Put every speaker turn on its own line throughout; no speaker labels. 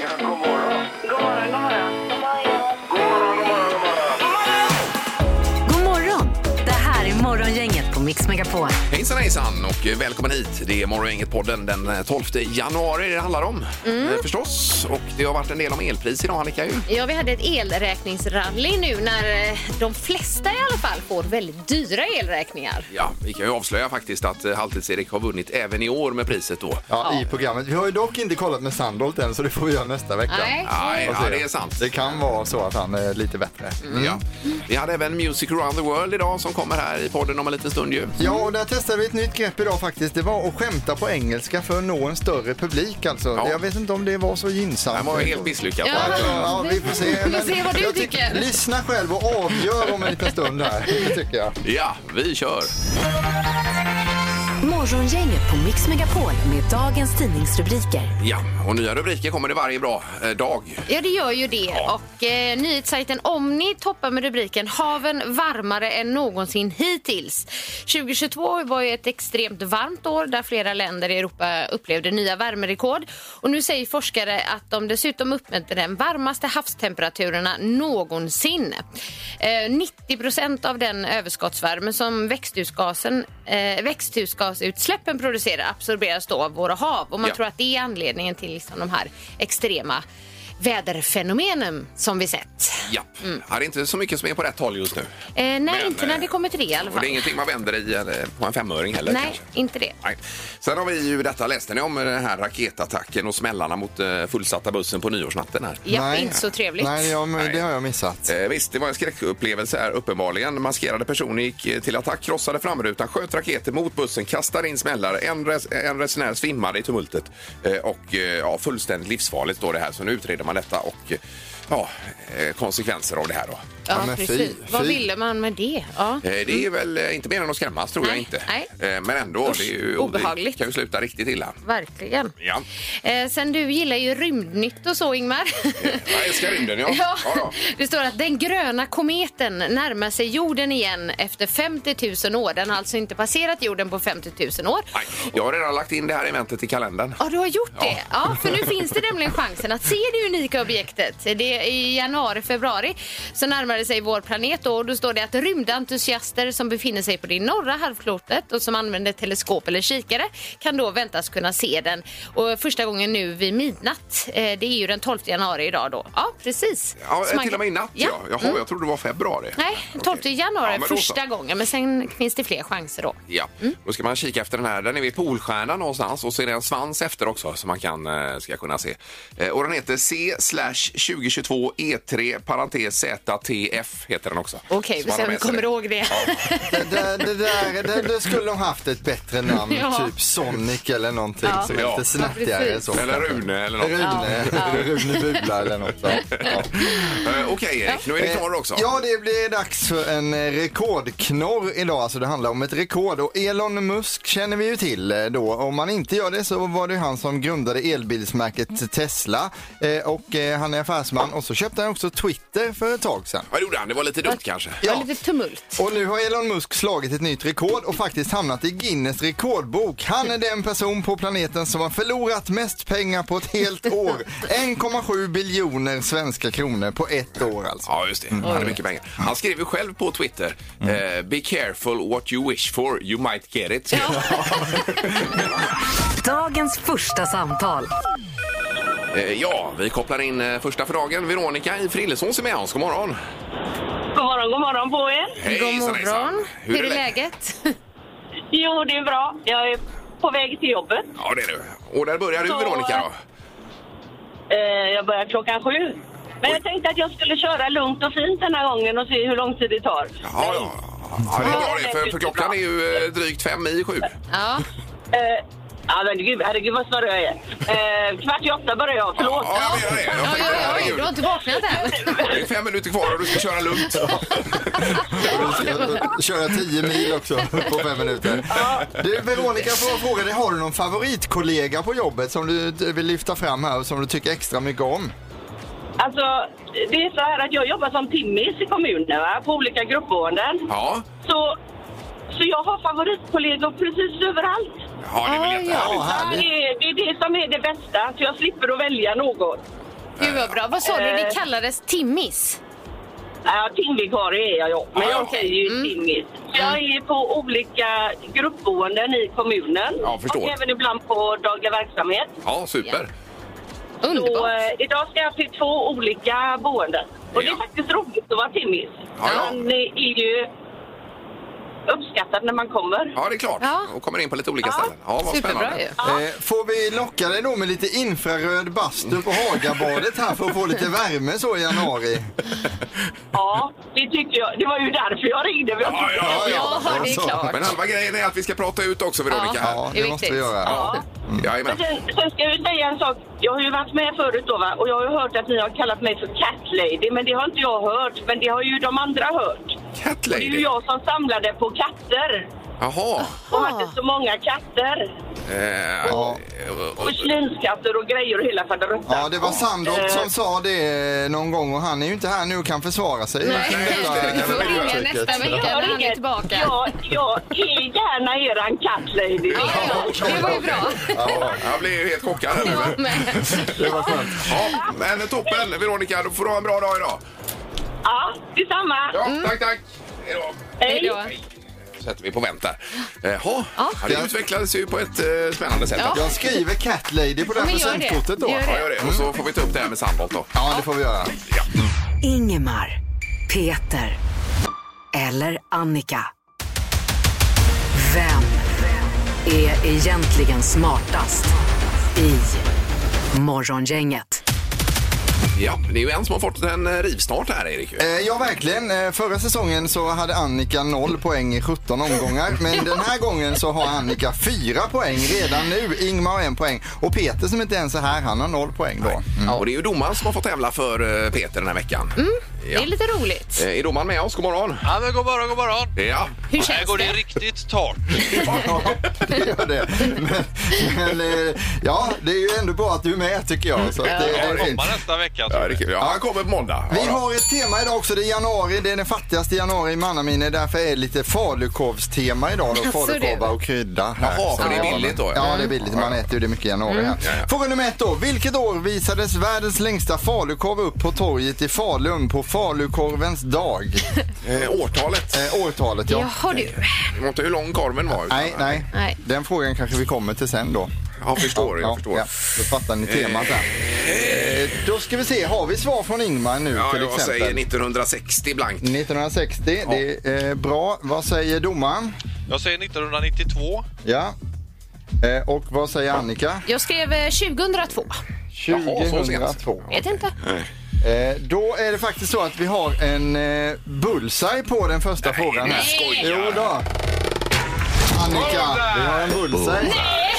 Ja, god morgon.
God morgon, god morgon.
God morgon, god morgon, god morgon.
God morgon! Det här är Morgongänget på Mix Megapol.
Hejsan hejsan och välkommen hit. Det är Morgongänget-podden den 12 januari det handlar om eh, förstås. Och det har varit en del om elpris idag Annika ju.
Mm. Ja, vi hade ett elräkningsrally nu när eh, de flesta i alla fall får väldigt dyra elräkningar.
Ja, vi kan ju avslöja faktiskt att eh, Halvtids-Erik har vunnit även i år med priset då.
Ja, i programmet. Vi har ju dock inte kollat med Sandholt än så det får vi göra nästa vecka.
Nej.
Nej,
Vad
ja,
säger
det
du?
är sant. Mm.
Det kan vara så att han är lite bättre. Mm.
Ja. Vi hade även Music around the world idag som kommer här i podden om en liten stund ju.
Ja, och där testade vi ett nytt grepp idag faktiskt. Det var att skämta på engelska för att nå en större publik alltså.
Ja.
Jag vet inte om det var så gynnsamt.
Det här var ju helt misslyckat.
Ja.
Ja, vi får se.
Vi får se vad du
jag tycker-
tycker.
Lyssna själv och avgör om en liten stund här. Det tycker jag.
Ja, vi kör.
Morgongänget på Mix Megapol med dagens tidningsrubriker.
Ja, och nya rubriker kommer det varje bra eh, dag.
Ja, det gör ju det. Och eh, nyhetssajten Omni toppar med rubriken Haven varmare än någonsin hittills. 2022 var ju ett extremt varmt år där flera länder i Europa upplevde nya värmerekord. Och nu säger forskare att de dessutom uppmätte den varmaste havstemperaturerna någonsin. Eh, 90 procent av den överskottsvärme som växthusgasen, eh, växthusgasutsläppen producerar absorberas då av våra hav. Och man
Ja.
tror att det är anledningen till liksom de här extrema väderfenomenen som vi sett.
Ja.
Mm.
Ja, det är inte så mycket som är på rätt håll just nu.
Eh, nej,
Men,
inte när
eh,
det kommer till det i alla
Och
fall.
det alltså. är ingenting man vänder i eller på en femöring heller
nej,
kanske.
inte det.
Nej. Sen har vi ju detta, läste ni om eh, den här raketattacken och smällarna mot eh, fullsatta bussen på nyårsnatten här?
Ja,
Nej.
inte så trevligt.
Nej, ja, men det har jag missat.
Eh, visst, det var en skräckupplevelse här uppenbarligen. Maskerade personer gick eh, till attack, krossade framrutan, sköt raketer mot bussen, kastade in smällare. En, res- en resenär svimmade i tumultet. Eh, och eh, ja, fullständigt livsfarligt står det här. Så nu utreder man detta och eh, ja, eh, konsekvenser av det här då.
ja,
Ja, men fy,
precis. Vad
fy.
ville man med det? Ja.
Eh, Det är väl eh, inte mer än att skrämmas tror jag
Mm. Nej,
inte.
nej.
Eh, Men ändå,
Usch,
det, är ju,
obehagligt.
det kan ju sluta riktigt illa.
Verkligen.
Ja.
Eh, sen du gillar ju rymdnytt och så, Ingmar.
Jag älskar rymden, ja.
Ja.
Ja, ja.
Det står att den gröna kometen närmar sig jorden igen efter 50 000 år. Den har alltså inte passerat jorden på 50 000 år.
Nej, jag har redan lagt in det här eventet i kalendern.
Ja, du har gjort det. Ja, för nu finns det nämligen chansen att se det unika objektet. Det är i januari, februari så närmar det sig vår planet då, och då står det att rymdentusiaster som befinner sig på det norra halvklotet och som använder teleskop eller kikare kan då väntas kunna se den. Och första gången nu vid midnatt. Eh, Det är ju den 12 januari idag då. Ja, precis.
Ja,
Så man
till
kan-
och med i natt, ja. Jaha, jag trodde det var februari.
Mm. Nej, 12
Okej.
januari
Ja, men då så.
första Mm. gången, men sen finns det fler chanser då.
Ja, då ska man kika efter den här. Den är vid Polstjärnan någonstans och så är det en svans efter också som man kan, eh, ska kunna se. Eh, Och den heter C 2022 E3 parentes ZTF heter den också.
Okej,
Så man
så
har
vi
med sig
kommer
det.
ihåg det.
Det, det, det, där, det, det skulle ha haft ett bättre namn,
Ja.
typ Sonic eller någonting som är
Ja.
lite
Ja,
snattigare.
precis.
så.
Eller Rune eller något.
Rune, Rune Bula eller något. va? Ja.
Eh, Okej Erik, nu är det klar också.
Ja, det blir dags för en eh, rekordknorr idag. Alltså det handlar om ett rekord och Elon Musk känner vi ju till eh, då. Om man inte gör det så var det ju han som grundade elbilsmärket Tesla Eh, och eh, han är affärsman och så köpte han också Twitter för ett tag sedan.
Vad gjorde han? Det var lite dumt kanske.
Det
Ja.
var lite tumult.
Och nu har Elon Musk slagit ett nytt rekord och faktiskt hamnat i Guinness rekordbok. Han är den person på planeten som har förlorat mest pengar på ett helt år. 1,7 biljoner svenska kronor på ett år alltså.
Ja, just det. Han hade mycket pengar. Han skrev ju själv på Twitter, eh, be careful what you wish for, you might get it.
Dagens första samtal.
Eh, ja, vi kopplar in eh, första för dagen. Veronica i Frillesås är med oss. God morgon!
God morgon, god morgon på er.
Hejsan,
God morgon.
hejsan.
Hur är det läget?
Jo, det är bra. Jag är på väg till jobbet.
Ja, det är du. Och där börjar du,
Så-
Veronica. Då.
Eh, jag börjar klockan sju. Men jag tänkte att jag skulle köra lugnt och fint den här gången och se hur lång tid det tar.
Ja, ja. ja, det är bra det, för, för klockan är ju eh, drygt fem i sju.
ja.
Eh, ja, men gud, herregud vad snurrig jag är. Eh, kvart i åtta börjar jag, förlåt.
Ja, jag menar det. Jag
Oj,
tänkte,
oj, oj, du har
herregud.
inte vaknat än.
Det är fem minuter kvar och du ska köra lugnt.
Köra 10 mil också på fem minuter. Du Veronica, får jag fråga dig, har du någon favoritkollega på jobbet som du eh, vill lyfta fram här och som du tycker extra mycket om?
Alltså, det är så här att jag jobbar som timmis i kommunen, va? på olika gruppboenden.
Ja,
Så, så jag har favoritkollegor precis överallt.
ja det är
Ja,
väl
ja.
jättehärligt.
Ja,
Det
härligt.
är det är det som är det bästa, så jag slipper att välja något.
Gud vad bra. Vad sa du? Det kallades timmis.
Ja, timvikarie är jag, ja. men
Ja,
jag
okej.
säger ju
Mm.
timmis. Så Jag är på olika gruppboenden i kommunen
Ja, förstår.
och även ibland på daglig verksamhet.
Ja, super.
Så,
Underbart.
eh, idag ska jag till två olika boenden. Och det
Ja.
är faktiskt roligt att vara timmis.
Ja, ja.
Man eh, är ju uppskattad när man kommer.
Ja, det är klart.
Ja.
Och kommer in på lite olika
Ja.
ställen. Ja, vad
Superbra
spännande.
ju.
Eh, får vi locka dig då med lite infraröd bastu på Hagabadet här för att få lite värme så i januari?
Ja, det tycker jag. Det var ju därför jag ringde. för jag
Ja,
tyckte-
ja, ja.
Ja, det är
så.
klart.
Men halva grejen är att vi ska prata ut också, Veronica. här.
Ja,
Det är
det måste vi
viktigt.
göra.
Ja.
Men
Jajamän.
sen, sen ska jag ju säga en sak. Jag har ju varit med förut då, va? och jag har ju hört att ni har kallat mig för Cat Lady, men det har inte jag hört. Men det har ju de andra hört.
Cat
Det är ju
lady.
jag som samlade på katter
Jaha.
och
Ah.
hade så många katter.
Eh,
Ja.
och- och-
Porslinskatter och grejer och hela faderuttan.
Ja, det var
Eh.
Sandholt som sa det någon gång och han är ju inte här nu och kan försvara sig.
Nej, du får ringa
Uttrycket.
nästa vecka
Jag
när han är
ringer.
tillbaka.
Ja, jag är gärna eran Cat Lady.
Ja, ja, det var ju bra.
Ja, jag blev ju helt chockad. här nu.
Jag med.
Det var skönt.
Ja, men toppen, Veronica. Då får du ha en bra dag idag.
Ja, detsamma.
Ja, Tack, tack. Hej då.
Hej då.
sätter vi på vänt där. Jaha, ja.
Ja.
det utvecklades ju på ett eh, spännande sätt.
Ja.
Jag skriver Cat Lady på det här
men gör det.
presentkortet då.
Gör
Ja, gör det. Och så får vi ta upp det här med Sandholt då.
Ja, det får vi göra.
Ja.
Ingemar, Peter eller Annika. Vem är egentligen smartast i Morgongänget?
ja, det är ju en som har fått en eh, rivstart här, Erik. ju.
Eh, Ja, verkligen. Eh, Förra säsongen så hade Annika 0 poäng i 17 omgångar. Men den här gången så har Annika 4 poäng redan nu. Ingmar har en poäng. Och Peter som inte ens är här, han har 0 poäng då.
Mm. Och det är ju domaren som har fått tävla för eh, Peter den här veckan.
Det är lite roligt.
Eh, Är domaren med oss? God morgon.
Ja, men god morgon, god morgon.
Ja.
Hur
Här
känns
går det
det?
riktigt torrt.
Ja, det gör det. Men, men eh, ja, det är ju ändå bra att du är med tycker jag. Så att eh, det, det
Jag
är fint.
kommer nästa vecka.
Ja,
Så.
det är kul. Ja, han kommer på måndag. Ja,
Vi
då.
har ett tema idag också. Det är januari. Det är den fattigaste januari i mannaminne. Därför är det lite falukorvstema idag. Då.
Jaså, du.
Falukorvar och krydda. Här.
Jaha, för
Så
det är billigt då, ja. Mm.
Ja, det är billigt. Man äter ju det mycket i januari. Här.
Ja, ja.
Fråga nummer ett då. Vilket år visades världens längsta falukorv upp på torget i Falun på falukorvens dag?
Eh, årtalet.
Eh, årtalet, ja.
Jaha du.
Det var inte hur lång korven var. Utan,
Nej, nej,
Nej.
Den frågan kanske vi kommer till sen då.
Jag förstår, jag
Ja,
förstår.
ja. Då fattar ni temat där. Eh, Då ska vi se, har vi svar från Ingmar nu
Ja,
till
jag
exempel?
säger 1960 blankt.
1960,
Ja.
det är eh, bra. Vad säger domaren?
Jag säger 1992.
Ja. Eh, Och vad säger Annika?
Jag skrev eh, 2002.
Jaha, så sent.
2002.
Vet inte.
Eh, Då är det faktiskt så att vi har en eh, bullseye på den första frågan här.
skojar.
Jo då. Annika, vi har en bullseye.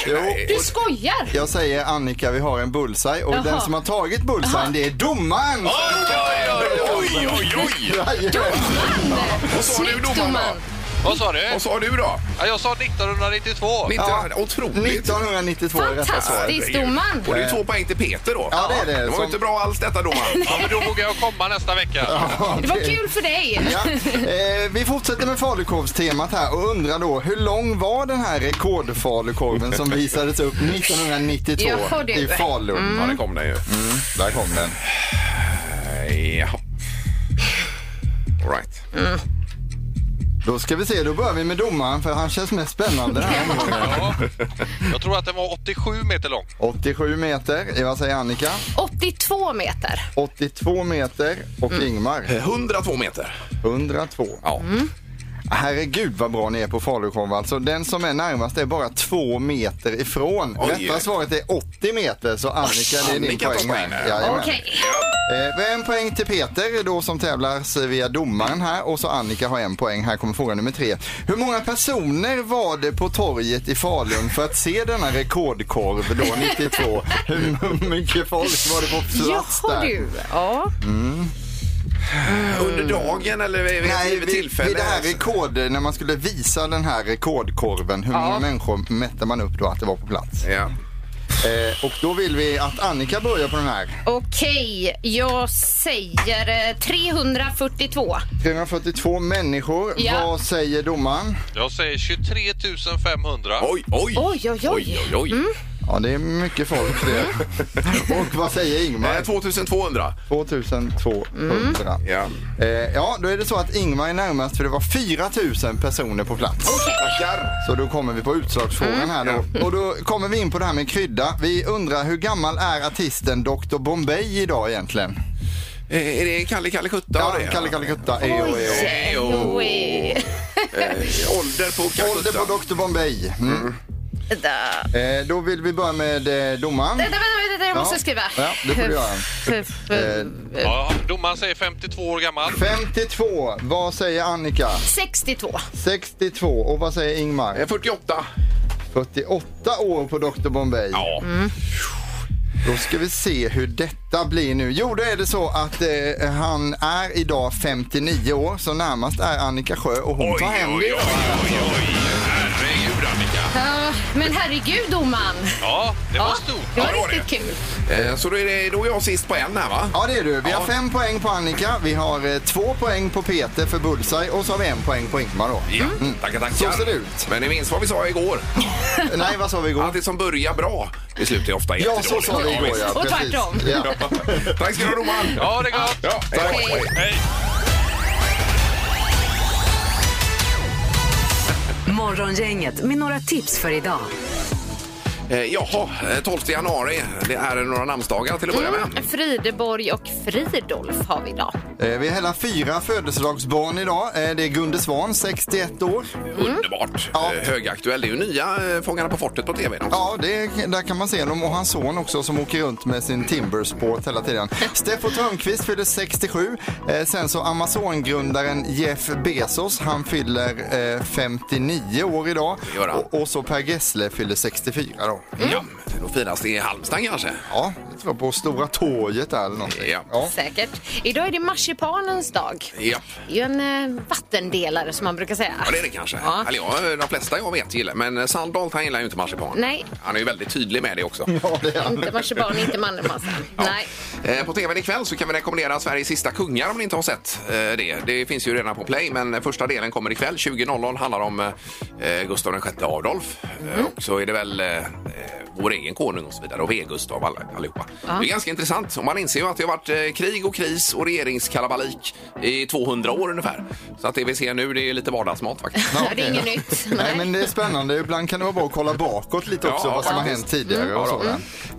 Jo,
Du skojar!
jag säger Annika, vi har en bullseye och
Jaha.
den som har tagit bullseyen det är domaren!
Oj, oj, oj!
Jajamän.
Vad sa du
Snyggt,
domaren då?
domaren.
Vad sa du?
Vad sa du då?
Ja, jag sa 1992.
19,
Ja.
Otroligt!
1992 är rätta svaret.
Fantastiskt, domaren.
Och det är ju två poäng till Peter då.
Ja, det är det.
Det var ju
Som-
inte bra alls detta domaren.
Ja, men då vågar jag komma nästa vecka.
Det var kul för dig.
Ja. Eh, vi fortsätter med falukorvstemat här och undrar då hur lång var den här rekordfalukorven som visades upp 1992
Jaha, du.
i Falun?
Ja, det kom den ju.
Där kom den.
Eh, Ja. All right.
Mm. Då ska vi se, då börjar vi med domaren för han känns mest spännande. Den här omgången.
Ja. Jag tror att den var 87 meter lång.
87 meter, eh, vad säger Annika?
82 meter.
82 meter och
Mm.
Ingmar
Eh, 102 meter.
102.
Ja.
Herregud vad bra ni är på falukorv alltså. Den som är närmast är bara två meter ifrån.
Oj.
Rätta svaret är 80 meter så Annika det är din
Annika tar
poäng
poäng
här.
där.
Jajamän.
Okej.
Eh, vi har en poäng till Peter då som tävlas via domaren här och så Annika har en poäng. Här kommer fråga nummer tre. Hur många personer var det på torget i Falun för att se denna rekordkorv då 92? Hur mycket folk var det på plats där?
Jaha du. Ja.
Under dagen eller vid, vid
Nej,
ett givet
vid, alltså.
tillfälle?
vid det här rekord, när man skulle visa den här rekordkorven, hur många människor mätte man upp då att det var på plats?
ja.
Eh, och då vill vi att Annika börjar på den här.
Okej, jag säger eh, 342.
342 människor,
Ja.
vad säger domaren?
Jag säger 23 500.
Oj, oj!
Oj, oj, oj.
oj, oj.
Ja, det är mycket folk det. Och vad säger
Eh,
Ingmar?
2200.
2200.
Ja.
Eh, ja, då är det så att Ingmar är närmast för det var 4000 personer på plats.
Tackar.
Så då kommer vi på utslagsfrågan här då. Och då kommer vi in på det här med krydda. Vi undrar hur gammal är artisten Dr Bombay idag egentligen?
Eh, Är det Kalle Kalle Kutta?
Ja,
det är?
Kalle Kalle Kutta. Oj,
Oj,
jo.
oj.
Eh, Ålder på Kalle
Ålder
Kutta.
på Dr Bombay. Mm.
Vänta.
Eh, då vill vi börja med eh, domaren.
Vänta, vänta, vänta, jag måste
Ja.
skriva. Typ, eh,
Ja, det får du göra.
göra.
Ja, domaren säger 52 år gammal.
52. Vad säger Annika?
62.
62. Och vad säger Ingmar?
Eh, 48.
48 år på Dr Bombay.
Ja.
Då ska vi se hur detta blir nu. Jo, då är det så att eh, han är idag 59 år, så närmast är Annika Sjö och hon
Oj,
tar hem
oj, oj,
det.
oj, oj. Herregud, Annika.
Ja, men herregud, domaren.
Ja, det var
Ja,
stort.
det var
Ja, det var
riktigt kul.
Eh, Så då är, det, då är jag sist på en här, va?
Ja, det är du. Vi har
Ja.
fem poäng på Annika, vi har eh, två poäng på Peter för bullseye och så har vi en poäng på Ingmar då.
Ja, Mm. tackar, tackar.
Mm. Så ser det ut.
Men ni minns vad vi sa igår?
Nej, vad sa vi igår?
Att det som börjar bra, det slutar ju ofta
Ja, så
jättedåligt.
sa vi igår
visst.
ja.
Och tvärtom.
precis. Ja.
Tack ska du ha, domaren.
Ja, det är gott.
Ja, hej då.
Hej.
Hej.
Morgongänget med några tips för idag.
Eh, Jaha, eh, 12 januari. Det är några namnsdagar till att börja
Mm.
med.
Frideborg och Fridolf har vi idag.
Eh, Vi har hela fyra födelsedagsbarn idag. Eh, Det är Gunde Svan, 61 år.
Underbart.
Ja.
Eh, Högaktuell. Det är ju nya eh, Fångarna på fortet på tv. Ja.
Ja, det, där kan man se honom och hans son också som åker runt med sin Timbersport hela tiden. Steffo Törnqvist fyller 67. Eh, sen så Amazon-grundaren Jeff Bezos, han fyller eh, 59 år idag.
Det gör han.
Och, och så Per Gessle fyller 64 då.
Ja, då firas det i Halmstad kanske.
Ja, det var på Stora Torget där eller någonting.
Ja.
Säkert. Idag är det marsipanens dag.
Japp.
Det är ju en eh, vattendelare som man brukar säga.
Ja, det är det kanske. Alltså,
Ja.
Eller ja, de flesta jag vet gillar Men eh, Sandholt han gillar ju inte marsipan.
Nej.
Han är ju väldigt tydlig med det också.
Inte marsipan, inte mandelmassa.
Ja.
Nej.
Eh, På tvn ikväll så kan vi rekommendera Sveriges sista kungar om ni inte har sett eh, det. Det finns ju redan på play men första delen kommer ikväll. 20.00 handlar om eh, Gustav VI Adolf.
Mm.
Eh, Och så är det väl eh, vår egen konung och så vidare och V-Gustav alla- allihopa. Det är ganska intressant och man inser ju att det har varit eh, krig och kris och regeringskalabalik i 200 år ungefär. Så att det vi ser nu det är lite vardagsmat faktiskt.
Ja, det är inget nytt.
Nej, men det är spännande. Ibland kan det vara bra att kolla bakåt lite också,
Ja,
vad som har
faktiskt.
hänt tidigare
Ja,
och
då.
sådär.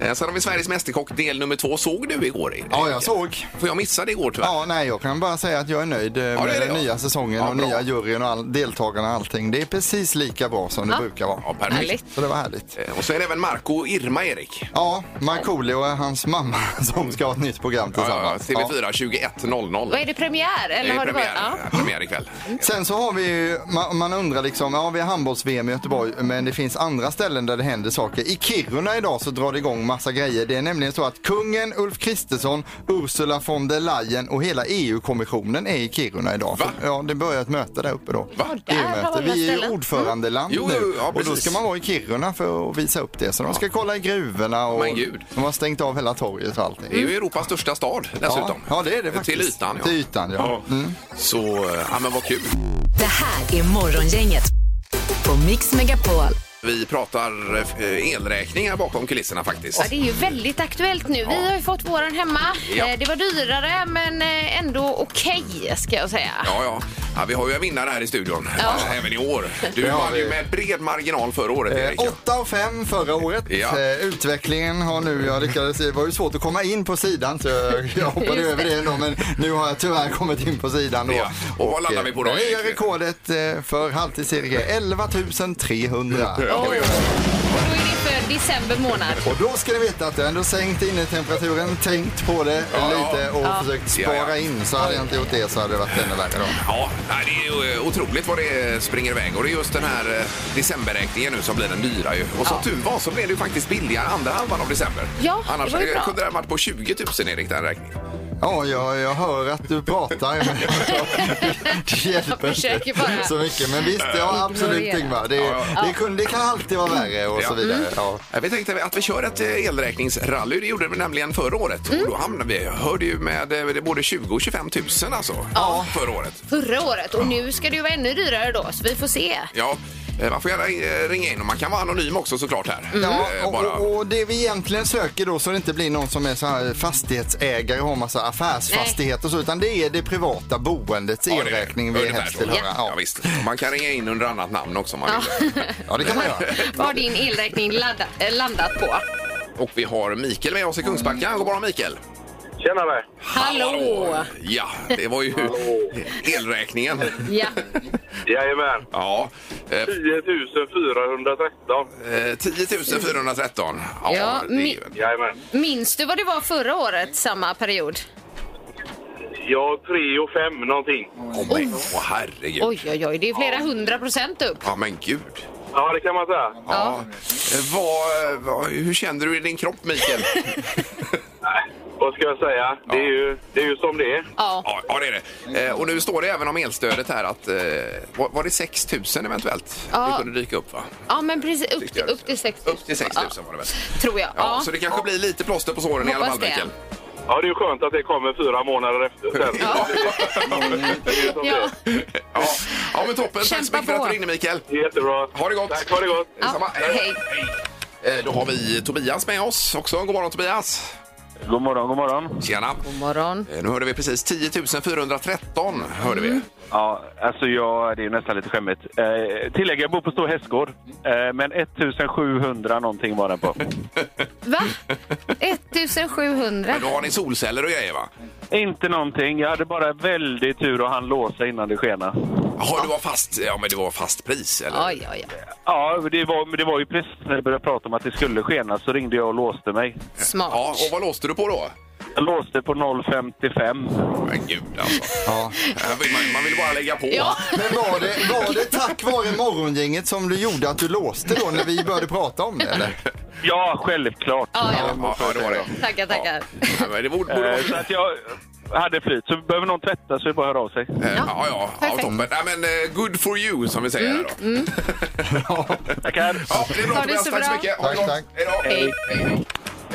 Eh, Sen har vi Sveriges Mästerkock del nummer två. Såg du igår? Erik?
Ja, jag såg.
För jag missade igår tyvärr.
Ja, nej, jag kan bara säga att jag är nöjd eh,
det är
med
det,
den
ja.
nya säsongen
Ja,
och
bra.
nya juryn och all, deltagarna och allting. Det är precis lika bra som det
Ja.
brukar vara.
Ja, perfekt.
Härligt.
Så det var härligt.
Eh, Och så är det även Marco och Irma, Erik.
Ja, Markoolio och hans mamma som ska ha ett nytt program
Ja, ja, ja.
tillsammans.
TV4
Vad
21.00.
är det premiär?
Det
Eller
är
har det
premiär,
varit? Ja.
ja. premiär ikväll.
Sen så har vi ju, man, man undrar liksom, ja vi har handbolls-VM i Göteborg men det finns andra ställen där det händer saker. I Kiruna idag så drar det igång massa grejer. Det är nämligen så att kungen, Ulf Kristersson, Ursula von der Leyen och hela EU-kommissionen är i Kiruna idag.
Va?
Ja, det börjar ett möte där uppe då.
Va?
Där har
EU-möte.
alla
Vi är ju
ställen.
ordförandeland
Mm. Jo,
nu
jo, ja,
och då
precis.
ska man vara i Kiruna för att visa upp det. Så de ska kolla i gruvorna och
Men gud.
de har stängt av hela torget och allting.
Det är ju Europas största stad dessutom.
Ja, ja, det är det faktiskt.
Till ytan, ja.
Till ytan, ja. Mm.
Så, eh, ja men vad kul.
Det här är Morgongänget på Mix Megapol.
Vi pratar eh, elräkningar bakom kulisserna faktiskt.
Ja, det är ju väldigt aktuellt nu. Vi har ju fått våran hemma.
Ja.
Eh, Det var dyrare, men eh, ändå okej, ska jag säga.
Ja, ja. ja, vi har ju en vinnare här i studion
Ja.
eh, även i år. Du
Det har
vann ju
vi.
med bred marginal förra året, Erik.
Eh, 8 och 5 förra året.
Ja.
Eh, utvecklingen har nu, jag lyckades, det var ju svårt att komma in på sidan så jag, jag hoppade
Just det.
över det ändå men nu har jag tyvärr kommit in på sidan då.
Ja. Och vad landar
eh,
vi på då,
Det nya
Erik?
rekordet eh, för halvtids-Erik är 11 300.
Oj. Och då är det för december månad.
Och då ska ni veta att jag ändå sänkt innetemperaturen, tänkt på det
Ja.
lite och försökt
Ja,
spara
ja.
in. Så hade jag inte gjort det så hade det varit ännu värre då.
Ja, nej, det är ju eh, otroligt vad det springer iväg. Och det är just den här eh, decemberräkningen nu som blir den dyra ju. Och som tur var så blev det ju faktiskt billigare andra halvan av december.
Ja, det
Annars
var ju
hade-
bra.
kunde det ha varit på 20 000 Erik, den räkningen.
Ja, jag, jag hör att du pratar. Men det hjälper
Jag försöker bara.
inte så mycket. Men visst, ja, absolut
Ignorera.
Ingvar. Det,
Ja,
det, kunde, det kan alltid vara värre och så
Ja.
vidare.
Mm.
Ja.
Eh, Vi tänkte att vi kör ett eh, elräkningsrally. Det gjorde vi nämligen förra året.
Mm.
Och då hamnade vi, hörde ju med eh, det är både 20 000 och 25 000 alltså. Ja. Förra året.
Förra året. Och nu ska det ju vara ännu dyrare då, så vi får se.
Ja. Eh, Man får gärna eh, ringa in och man kan vara anonym också såklart här.
Mm.
Ja,
Eh,
och,
bara.
och, och det vi egentligen söker då så det inte blir någon som är så här fastighetsägare och har massa affärsfastigheter och så utan det är det privata boendets
Ja, det är
elräkning vi
ungefär
helst
så.
vill höra.
Ja, visst. Man kan ringa in under annat namn också om man vill.
ja, det kan man göra.
Vad har din elräkning ladda, eh, landat på?
Och vi har Mikael med oss i Kungsbacka. God morgon Mikael!
Tjenare!
Hallå!
Ja, det var ju elräkningen.
Ja.
Jajamän.
Ja,
10
eh,
413.
eh, 10 413.
Ja,
det är ju
mi-
en-
Jajamän.
Minns du vad det var förra året, samma period?
Ja, 3 och 5 någonting.
Åh, men- åh, herregud.
Oj, oj, oj, det är flera hundra procent upp.
Ja, men gud.
Ja, det kan man säga.
Ja. Eh, Vad, vad, hur känner du i din kropp, Mikael?
Vad ska jag säga? Det är ju, det är ju som det är.
Ja.
ja, ja, det är det. Eh, och nu står det även om elstödet här att eh, var, var det 6 000 eventuellt?
Ja.
Det kunde dyka upp, va?
ja, men precis. Upp
Tyckte
till,
jag det
upp till
stod.
6 000.
Upp till 6 000 var det väl?
Ja, tror jag.
Ja,
Ja.
Så det kanske blir lite plåster på såren i alla
Hoppas
fall,
det.
Mikael.
Ja, det är ju skönt att det kommer fyra månader efter. Sen.
Ja.
Det är ju som det
Ja.
är.
Ja, ja men toppen. Tack så
Kämpa
mycket för att
på.
du ringde, Mikael.
Jättebra.
Ha det gott.
Tack, ha det gott.
Detsamma.
Ja, hej.
Eh, Då har vi Tobias med oss också. God morgon Tobias!
God morgon, god morgon.
Tjena!
God morgon.
Eh, Nu hörde vi precis 10 413 hörde
Mm.
vi.
Ja, alltså jag, det är ju nästan lite skämmigt. Eh, tillägga, jag bor på Stor Hästgård. Eh, men 1700 någonting var den på.
Va? 1700?
Men då har ni solceller och grejer va?
Inte någonting. Jag hade bara väldigt tur att han låsa innan det skena.
Jaha, du var fast, ja, men det var fast pris eller?
Ja, ja, ja.
Ja, det var, det var ju precis när det började prata om att det skulle skena så ringde jag och låste mig.
Smart.
Ja, och vad låste du på då?
Jag låste på 0,55.
Men gud alltså.
Ja.
Eh, vill Man, man vill bara lägga på.
Ja.
Men var det, var det tack vare morgongänget som du gjorde att du låste då när vi började prata om det eller?
Ja, självklart.
Ja, ja.
Ja, ja, det var det.
Tackar, tackar.
Ja, men det borde, borde
Eh,
vara...
så att jag hade flyt. Så behöver någon tvätta så är det bara att höra av sig.
Eh, Ja, ja, ja
Perfekt. Mm,
toppen. Nej, men eh, good for you som vi säger här då.
Tackar.
Ja, det är bra
Ha det
Tobias.
så
Tack så
bra.
mycket. Ha det
Tack,
gott.
tack.
Hej då.
Hej.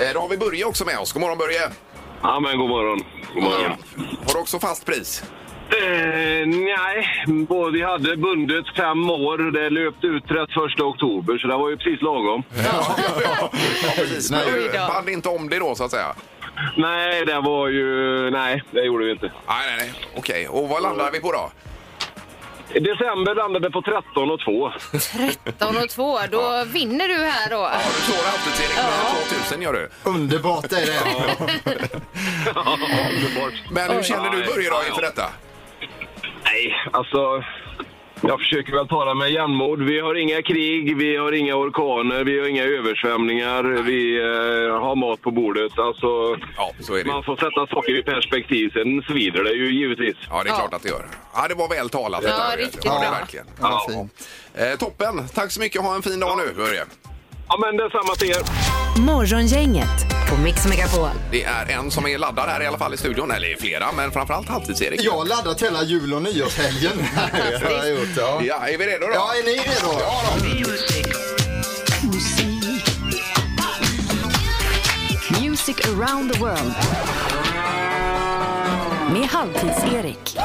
Eh, Då har vi Börje också med oss. God morgon Börje.
Ja, men god morgon. God morgon.
Har du också fast pris?
Eh, nej, både- vi hade bundet fem år. Det löpte ut 31 oktober, så det var ju precis lagom.
Ja, ja, ja. ja precis. Men
Oj
du
då.
band inte om det då så att säga.
Nej, det var ju... Nej, det gjorde vi inte.
Nej, nej, nej. Okej, och vad landar vi på då?
December landade på 13 och 2.
13 och 2, då vinner du här då.
Ja, du slår halvtidsserien med 2000 gör du.
Underbart är det.
Underbart.
Men hur känner du Börje då inför detta?
Nej, alltså... Jag försöker väl tala med jämnmod. Vi har inga krig, vi har inga orkaner, vi har inga översvämningar. Vi eh, har mat på bordet. Alltså,
Ja, så är det ju.
man får sätta saker i perspektiv. Sen svider det ju givetvis.
Ja, det är
Ja.
klart att det gör. Ja, det var väl talat. det
Ja,
där, Börje.
riktigt
Ja, det
bra.
verkligen.
Ja, fint.
Eh, toppen! Tack så mycket. Ha en fin dag nu, Börje.
Ja, men det är samma till er.
Morgongänget på Mix Megapol.
Det är en som är laddad här i alla fall i studion. Eller flera, men framförallt halvtids-Erik.
Jag har laddat hela jul och nyårshelgen. Det har jag gjort, ja.
Ja, är vi redo då?
ja, är ni redo?
Ja då.
Music around the world. Med Halvtids-Erik.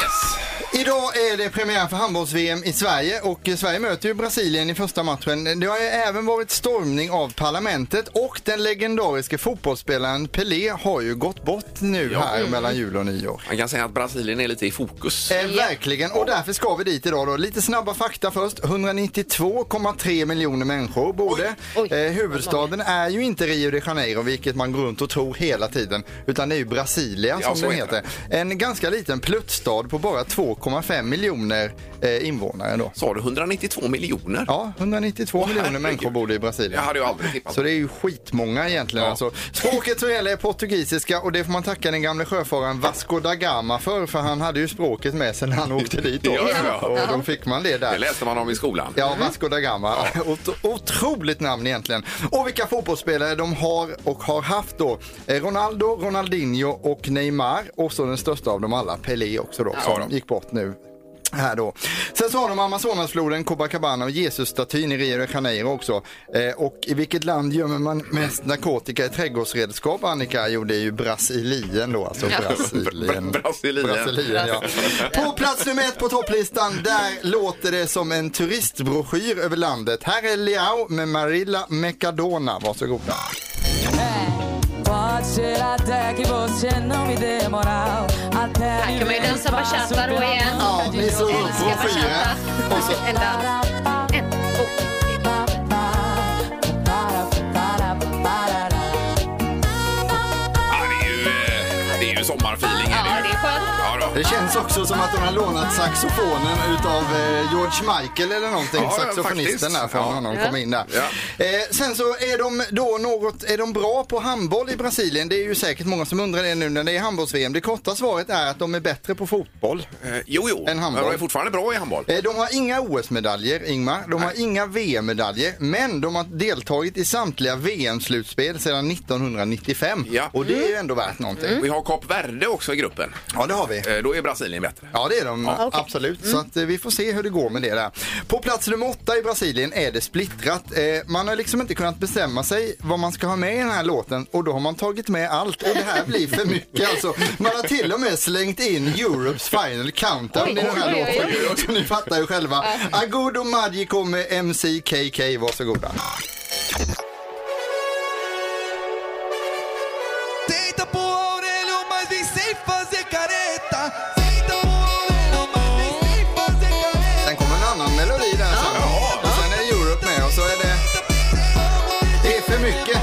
Yes!
Idag är det premiär för handbolls-VM i Sverige och eh, Sverige möter ju Brasilien i första matchen. Det har ju även varit stormning av parlamentet och den legendariske fotbollsspelaren Pelé har ju gått bort nu här mellan jul och nyår.
Man kan säga att Brasilien är lite i fokus.
Eh, verkligen, och därför ska vi dit idag då. Lite snabba fakta först. 192,3 miljoner människor bor det.
Oj. Oj.
Eh, huvudstaden är ju inte Rio de Janeiro, vilket man går runt och tror hela tiden, utan det är ju Brasilia
Ja, så
som den
heter
heter. En ganska liten pluttstad på bara 2,5 miljoner eh, invånare då.
Sa du 192 miljoner?
Ja, 192 miljoner
herregud.
människor bor det i
Det
Brasilien.
hade jag aldrig tippat.
Så det är ju skitmånga egentligen.
Ja.
Alltså. Språket som gäller är portugisiska och det får man tacka den gamle sjöfararen Vasco da Gama för, för han hade ju språket med sig när han åkte dit. Då.
Ja, ja, ja.
Och då fick man det
Det
där.
läste man om i skolan.
Ja, Vasco da Gama. Ot- Otroligt namn egentligen. Och vilka fotbollsspelare de har och har haft då. Eh, Ronaldo, Ronaldinho och Neymar och så den största av dem alla, Pelé också då,
Ja,
som
då.
gick bort nu Här då. Sen så har de Amazonasfloden, Copacabana och Jesusstatyn i Rio de Janeiro också. Eh, och i vilket land gömmer man mest narkotika i trädgårdsredskap? Annika gjorde ju Brasilien då, alltså
Ja.
Brasilien.
Bra- Brasilien.
Brasilien ja. På plats nummer ett på topplistan, där låter det som en turistbroschyr över landet. Här är Leao med Marilla Mecadona, varsågoda.
Här kan man ju dansa bachata då igen.
Ja, ni slår upp
Älskar
broschyren.
bachata.
Och så
En dans. En, två.
Ja, det, är ju, eh, det är ju sommarfeeling.
Ja, det
är det ju.
är skönt.
Ja, då.
Det känns också som att de har lånat saxofonen utav eh, George Michael eller någonting.
Ja, ja,
Saxofonisten
faktiskt.
där från
Ja.
honom
Ja.
kom in där.
Ja.
Eh, sen så är de då något, är de bra på handboll i Brasilien? Det är ju säkert många som undrar det nu när det är handbolls-VM. Det korta svaret är att de är bättre på fotboll.
Eh, Jo, jo.
En handboll.
Men De är fortfarande bra i handboll.
Eh, De har inga OS-medaljer, Ingmar. De har inga VM-medaljer. Men de har deltagit i samtliga VM-slutspel sedan 1995.
Ja.
Och det är ju ändå värt någonting.
Mm. Vi har Kap Verde också i gruppen.
Mm. Ja, det har vi.
Eh, Då är Brasilien bättre.
Ja, det är de.
Ja.
Absolut.
Mm.
Så att, eh, vi får se hur det går med det där. På plats nummer åtta i Brasilien är det splittrat. Eh, man har liksom inte kunnat bestämma sig vad man ska ha med i den här låten och då har man tagit med allt och det här blir för mycket alltså. Man har till och med slängt in Europes Final Countdown i den här
Oj, oj, oj.
låten. Så ni fattar ju själva. Agudo Magico med MCKK, varsågoda. Sen kommer en annan melodi där sen. Och sen är Europe med och så är det... Det är för mycket.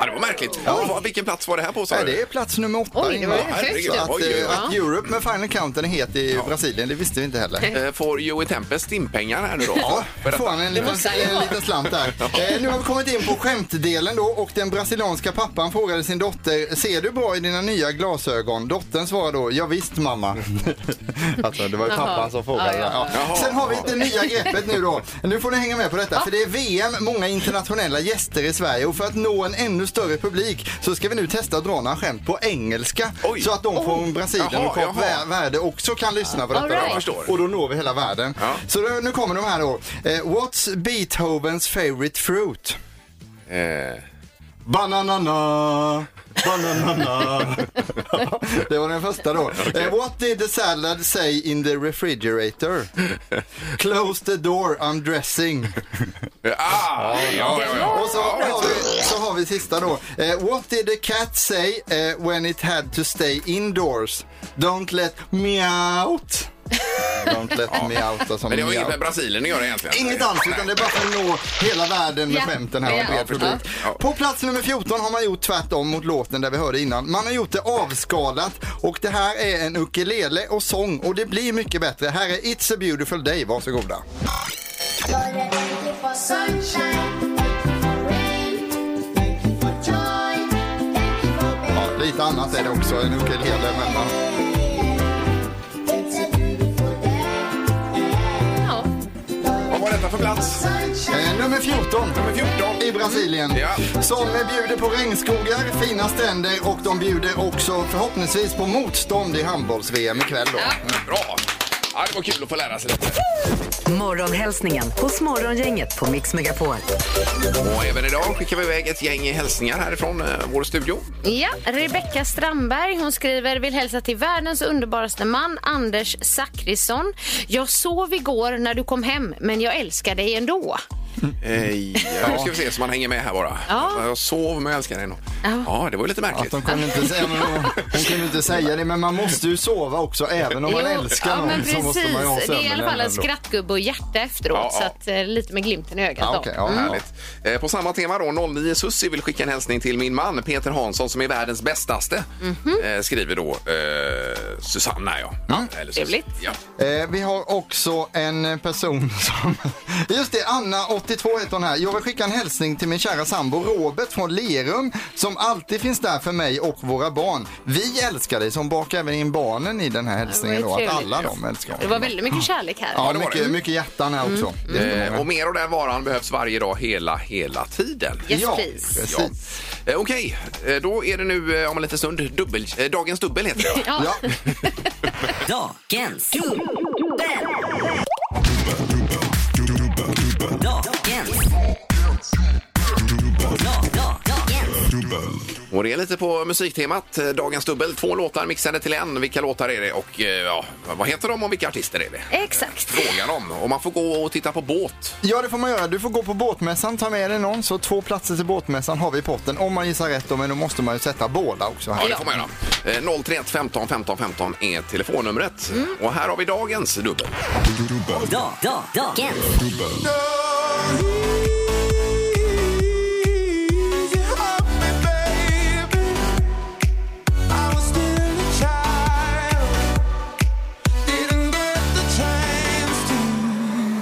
Ja, det var märkligt. Vad- Vilken plats var det här på? sa
Nej,
du?
det är plats nummer åtta.
Oj, det var ju
Ingmar.
högt
Så
upp.
att,
Oj, oj, oj.
eh, att Europe med Final Countdown är het i Brasilien, det visste vi inte heller.
Eh, Får Joey Tempest stimpengar här nu då?
Ja,
För
får
detta?
han en liten,
måste han ju
en
ha.
liten slant där. Eh, nu har vi kommit in på skämtdelen då och den brasilianska pappan frågade sin dotter, ser du bra i dina nya glasögon? Dottern svarar då, ja visst mamma. alltså det var ju
Jaha.
pappan som frågade.
Ja, ja.
där. Ja.
Jaha.
Sen har vi det nya greppet nu då. Nu får ni hänga med på detta för det är VM, många internationella gäster i Sverige och för att nå en ännu större publik så ska vi nu testa att dra några skämt på engelska
Oj.
så att de från Brasilien
Jaha,
och Kap
jaha.
Ver- Värde också kan lyssna på detta.
All right.
då.
Jag förstår.
Och då når vi hela världen.
Ja.
Så då, nu kommer de här då. Eh, what's Beethovens favorite fruit?
Eh,
Bananana, bananana. det var den första då. Eh, what did the salad say in the refrigerator? Close the door, I'm dressing.
Ah, ja, ja, ja.
Och så har vi, så har vi sista då. Eh, what did the cat say eh, when it had to stay indoors? Don't let me out. Don't let me out. Alltså,
Men det har
me
inget
out.
med Brasilien att göra egentligen.
Inget alls, utan det är bara för att nå hela världen med
Ja.
skämten här och en
Ja.
bred publik.
Ja.
På plats nummer 14 har man gjort tvärtom mot låten där vi hörde innan. Man har gjort det avskalat och det här är en ukulele och sång och det blir mycket bättre. Här är It's a beautiful day, varsågoda. Ja, lite annat är det också, en ukulele. Men man...
Ja.
Vad var detta för plats?
eh, nummer 14.
Nummer 14.
i Brasilien
Ja.
som bjuder på regnskogar, fina stränder och de bjuder också förhoppningsvis på motstånd i handbolls-VM ikväll då.
Bra! Ja, det var kul att få lära sig lite.
Morgonhälsningen hos Morgongänget på Mix Megapol.
Och även idag skickar vi iväg ett gäng hälsningar härifrån eh, vår studio.
Ja, Rebecka Strandberg hon skriver vill hälsa till världens underbaraste man Anders Zachrisson. Jag sov igår när du kom hem, men jag älskar dig ändå.
Eh, ja. Nu ska vi se så man hänger med här bara.
Ja.
Jag sov men jag älskar dig nog.
Ja.
Ja, det var ju lite
Att
märkligt.
de kunde inte säga, men hon, hon kunde inte säga det, men man måste ju sova också. Även om man
Jo,
älskar
ja,
någon
men
så
precis.
måste man ju ha
Det är i alla fall en
ändå.
skrattgubbe och hjärta efteråt,
Ja, ja.
så att, eh, lite med glimten i ögat.
Ja,
då.
okej, ja,
Härligt. Eh, På samma tema då, 09 Sussi vill skicka en hälsning till min man Peter Hansson som är världens bästaste. eh, Skriver då eh, Susanna ja. Eller Sussi.
Trevligt.
Ja.
Eh, vi har också en person som... Just det, Anna, 82 heter hon här. Jag vill skicka en hälsning till min kära sambo Robert från Lerum som alltid finns där för mig och våra barn. Vi älskar dig som bakar även in barnen i den här hälsningen
Det var
då.
ju
Att
trevligt.
alla de älskar
Det
honom.
var Mm. väldigt mycket kärlek här.
Ja,
det var
mycket,
det.
mycket hjärtan här också. Det ska man
Eh,
ha.
och mer av den varan behövs varje dag hela, hela tiden.
Yes,
ja,
please.
precis.
Ja. Eh, Okej, eh, då är det nu eh, om en liten stund dubbel, eh, Dagens Dubbel heter det.
Ja.
Ja.
Dagens dubbel. Dagens. Da- da- Dagens.
Och det är lite på musiktemat. eh, Dagens Dubbel, två låtar mixade till en. Vilka låtar är det och eh, ja, vad heter de och vilka artister är det?
Eh. Exakt.
Fråga dem. Och man får gå och titta på båt.
Ja, det får man göra. Du får gå på båtmässan, ta med dig någon. Så två platser till båtmässan har vi i potten. Om man gissar rätt då, men då måste man ju sätta båda också. Här.
Ja, det får man göra. Eh, 031 15 15 15 är telefonnumret.
Mm.
Och här har vi dagens dubbel.
Da- da- Dagens.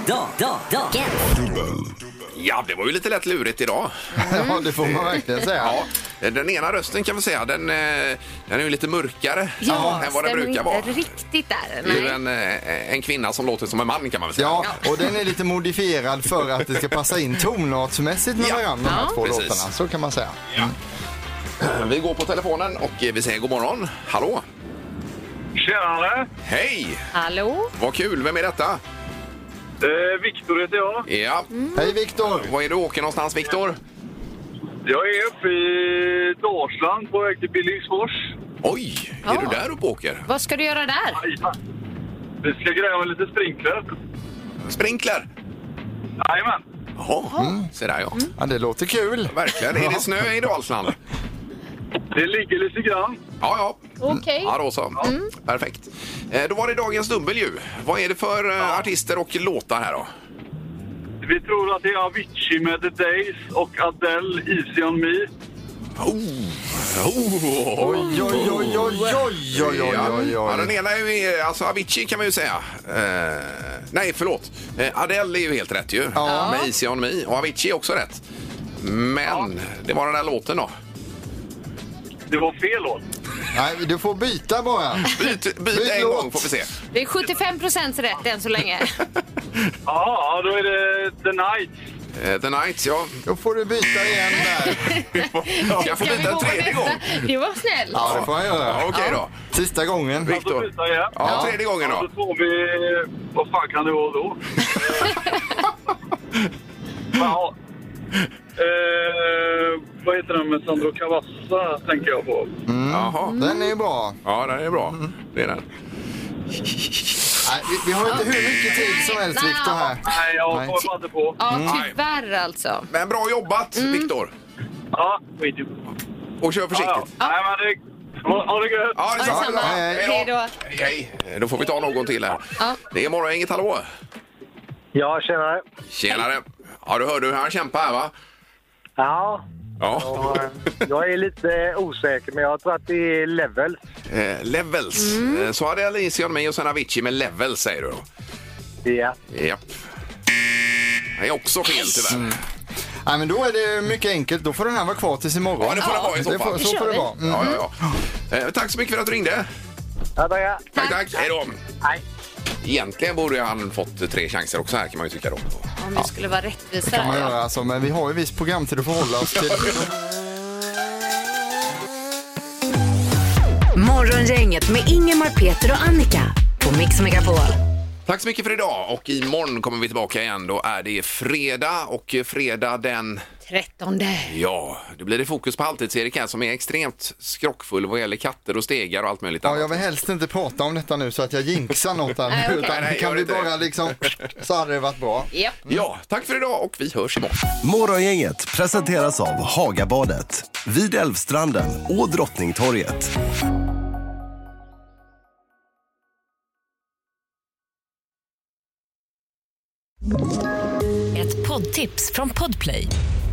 Da- da- Dagens.
Ja, det var ju lite lätt lurigt idag.
Mm.
Ja, det får man verkligen säga.
Ja, den ena rösten kan vi säga, den, eh, den är ju lite mörkare
Ja,
än vad
stämmer
den brukar
inte
vara.
riktigt där.
Det är ju
Nej.
en, eh, en kvinna som låter som en man kan man väl säga.
Ja, och den är lite modifierad för att det ska passa in tonartsmässigt med
Ja.
varandra, de
Ja.
här två
Precis.
låtarna. Så kan man säga.
Vi går på telefonen och eh, vi säger god morgon. Hallå!
Tjenare!
Hej!
Hallå?
Vad kul, vem är detta?
Eh, Viktor heter jag.
Ja,
Mm.
Hej Viktor!
var är du åker någonstans Viktor?
Jag är uppe i Dalsland på väg till Billingsfors.
Oj, är
Ja.
du där uppe och åker?
Vad ska du göra där?
Vi ska gräva lite sprinkler.
Sprinkler?
Jajamän.
Jaha, se där ja.
Mm.
Ja, det låter kul.
Verkligen, är det snö i Dalsland?
Det ligger lite grann.
Ja, ja.
Okej.
Mm. Ja, Mm. då så. Perfekt. Eh, Då var det dagens dubbel ju. Vad är det för eh, artister och låtar här då?
Vi tror att det är Avicii med The Days och Adele Easy On Me.
Oh. Oh.
Oj, oj, oj, oj, oj, oj, oj, oj,
Ja, den
oj.
ena är ju, alltså Avicii kan man ju säga. Eh, nej, förlåt. Eh, Adele är ju helt rätt ju.
Ja.
Med Easy On Me. Och Avicii är också rätt. Men det var den där låten då.
Det var fel låt.
Nej, du får byta bara.
Byt, byt,
Byt
en
låt.
gång får vi se.
Det är 75 rätt än så länge.
Ja, då är det The Night.
Eh, The Nights, ja.
Då får du byta igen där.
Jag får
Ska vi
byta
gå på
en tredje
nästa?
gång.
Det var snällt.
Ja, det får han
Ja,
göra.
Okej då.
Sista gången.
Då
Viktor.
byter jag.
Ja, tredje gången
Ja,
då.
då får vi... Vad fan kan det vara då? ja. Eh, vad heter den med Sandro Cavazza, tänker jag på.
Mm. Jaha.
Den är ju bra.
Ja, den är bra. Det är den.
Nej, vi, vi har inte hur mycket tid som helst
Nej.
Viktor här.
Nej, jag
Nej.
kommer inte på.
Ja, tyvärr alltså.
Men bra jobbat, Viktor.
Ja, skit i det.
Och kör försiktigt.
Ja, ja. Nej, men det... Ha, ha det gött!
Ja, det är
Ja,
samma.
detsamma. Hej då.
Hej, hej. Då får vi ta någon till här.
Ja.
Det är Morgongänget, hallå!
Ja, tjenare.
Tjenare! Ja, du hörde hur han kämpade här, va?
Ja,
Ja.
jag är lite osäker, men jag tror att det är level.
Eh, levels. Eh, Så hade Alicia mig och sen Avicii med Levels, säger du då.
Ja.
Japp. Det är också fel tyvärr.
Nej, men då är det mycket enkelt. Då får den här vara kvar tills imorgon.
Ja, det får den vara i så
Det får-
fall.
Så får det vara. Mm.
Ja, ja, ja. Eh, tack så mycket för att du ringde.
Ja, tackar.
Tack,
Tack.
tack. Hej då.
Hej.
Egentligen borde han fått tre chanser också här kan man ju tycka då.
Om vi skulle vara rättvisa.
kan man
där, ja.
göra alltså, men vi har ju viss programtid att förhålla oss till.
Morgongänget med Ingemar, Peter och Annika på Mix Megapol.
Tack så mycket för idag och imorgon kommer vi tillbaka igen. Då är det fredag och fredag den
Trettonde.
Ja, det blir det fokus på Halvtids-Erik här som är extremt skrockfull vad gäller katter och stegar och allt möjligt
Ja, jag
annat.
vill helst inte prata om detta nu så att jag jinxar något här.
Nej, okej.
utan
Nej, nej, gör
kan vi
inte det.
bara liksom, så hade det varit bra.
Japp.
Ja, tack för idag och vi hörs imorgon.
Morgongänget presenteras av Hagabadet, vid Älvstranden och Drottningtorget.
Ett poddtips från Podplay.